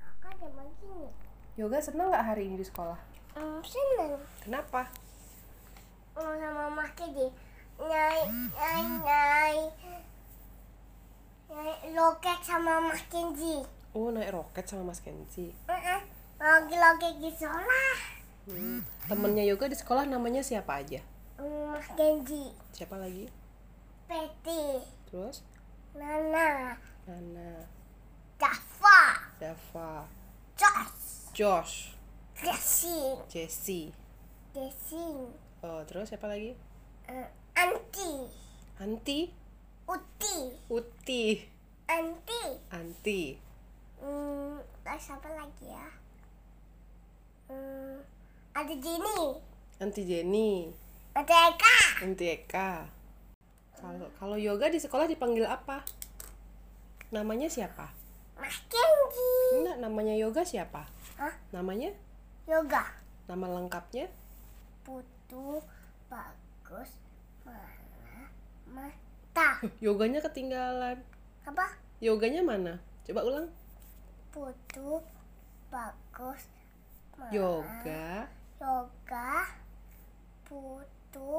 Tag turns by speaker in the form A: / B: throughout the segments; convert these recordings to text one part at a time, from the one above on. A: ya?
B: Yoga seneng nggak hari ini di sekolah?
A: Hmm, seneng
B: Kenapa?
A: mau sama maki di nyai nyai nyai nyai loket sama Mas Kenji.
B: Oh naik roket sama Mas Kenzi.
A: Heeh, Lagi-lagi di sekolah.
B: Hmm. Temennya Yoga di sekolah namanya siapa aja?
A: Hmm, Mas Kenji,
B: Siapa lagi?
A: Peti,
B: Terus
A: Nana,
B: Nana,
A: Jaffa,
B: Dava,
A: Josh,
B: Josh,
A: Jessin,
B: Jesse.
A: Jessin,
B: Oh terus siapa lagi?
A: eh, Anti,
B: Anti,
A: Uti,
B: Uti,
A: Anti.
B: Anti.
A: Hmm, terus apa lagi ya? Hmm, ada Jenny,
B: Anti Jenny,
A: ada Eka,
B: Anti Eka. Kalau kalau Yoga di sekolah dipanggil apa? Namanya siapa?
A: Mas Kenji,
B: Enggak, namanya Yoga siapa?
A: Hah?
B: Namanya?
A: Yoga,
B: Nama lengkapnya?
A: Putu, Bagus, Mana, Mata,
B: Yoganya ketinggalan.
A: apa?
B: Yoganya mana? Coba ulang.
A: Putu, Bagus, Mana,
B: Yoga,
A: Yoga, Putu,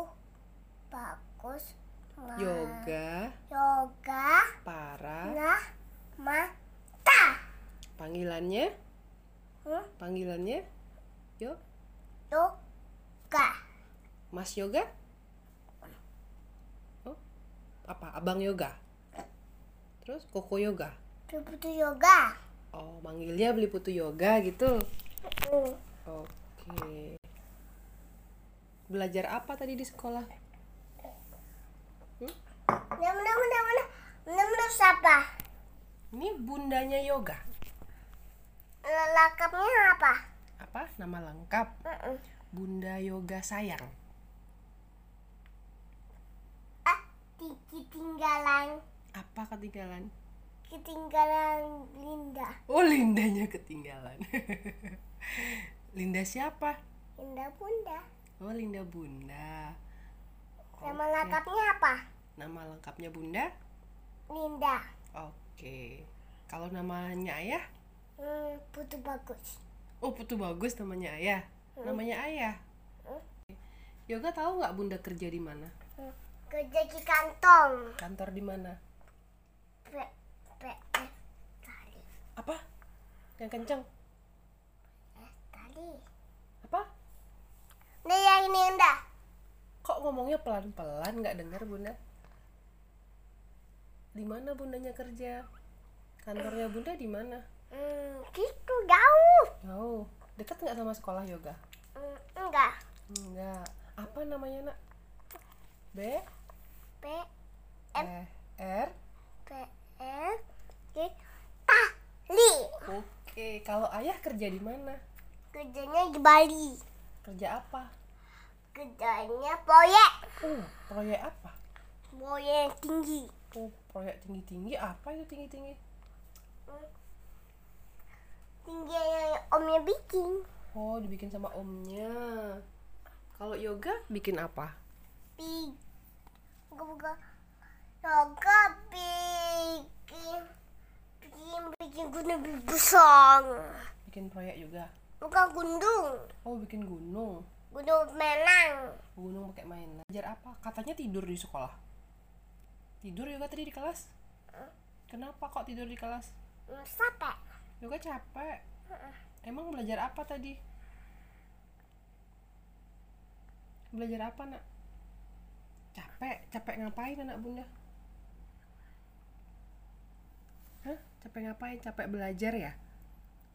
A: Bagus,
B: Ah.
A: Ma-
B: yoga,
A: Yoga,
B: para.
A: Nah, Mata,
B: Panggilannya?
A: hmm?
B: Panggilannya? Yo,
A: Yoga.
B: Mas Yoga? Oh, apa? Abang Yoga? Terus Koko Yoga?
A: Putu yoga.
B: Oh, manggilnya beli putu yoga gitu.
A: Hmm.
B: Oke. Belajar apa tadi di sekolah?
A: Nama nama nama nama nama siapa?
B: Ini bundanya yoga.
A: Lengkapnya apa?
B: Apa? Nama lengkap.
A: Mm-mm.
B: Bunda Yoga Sayang.
A: Ah, di- ketinggalan
B: Apa ketinggalan?
A: ketinggalan Linda.
B: Oh, Lindanya ketinggalan. Linda siapa?
A: Linda Bunda.
B: Oh, Linda Bunda.
A: Nama lengkapnya apa?
B: Nama lengkapnya Bunda?
A: Linda.
B: Oke. Kalau namanya Ayah?
A: Hmm, putu bagus.
B: Oh, Putu Bagus namanya Ayah. Namanya Ayah.
A: Hmm.
B: Yoga tahu nggak Bunda kerja di mana?
A: Hmm. Kerja di kantong.
B: Kantor di mana?
A: P P eh, tali
B: Apa? Yang kenceng?
A: eh tali.
B: Apa?
A: Nah yang ini Linda.
B: Kok ngomongnya pelan-pelan nggak dengar Bunda? Di mana Bundanya kerja? Kantornya Bunda di mana?
A: Hmm, gitu jauh.
B: Jauh. Dekat nggak sama sekolah yoga?
A: Hmm, enggak.
B: Enggak. Apa namanya, Nak? B
A: P
B: E, R.
A: PL di Bali.
B: Oke, kalau Ayah kerja di mana?
A: Kerjanya di Bali.
B: Kerja apa?
A: Kerjanya proyek.
B: Oh, proyek apa?
A: Proyek tinggi.
B: Oh, proyek tinggi-tinggi apa itu tinggi-tinggi?
A: Tinggi yang omnya bikin.
B: Oh, dibikin sama omnya. Kalau yoga bikin apa?
A: Big. Buka Yoga bikin bikin bikin gunung besar.
B: Bikin proyek juga.
A: Bukan gunung,
B: Oh, bikin gunung.
A: gunung menang.
B: Gunung pakai mainan. Belajar apa? Katanya tidur di sekolah. Tidur yoga tadi di kelas? Kenapa kok tidur di kelas?
A: Hmm, Sampai
B: Yoga kan capek. Emang belajar apa tadi? Belajar apa, Nak? Capek, capek ngapain anak Bunda? Hah? Capek ngapain? Capek belajar ya?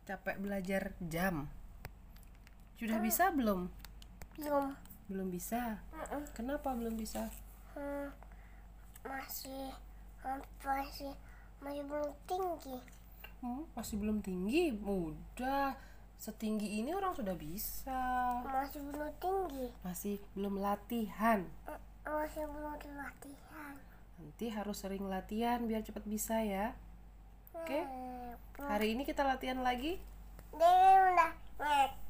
B: Capek belajar jam. Sudah bisa belum?
A: belum.
B: Belum bisa.
A: Mm-mm.
B: Kenapa belum bisa?
A: Hmm, masih masih masih belum tinggi
B: Hmm, masih belum tinggi. Mudah. Setinggi ini orang sudah bisa.
A: masih belum tinggi
B: Masih belum latihan.
A: Eh, masih belum di latihan
B: Nanti harus sering latihan biar cepat bisa ya. Oke.
A: Eh, belum.
B: Hari ini kita latihan lagi.
A: dia udah ngek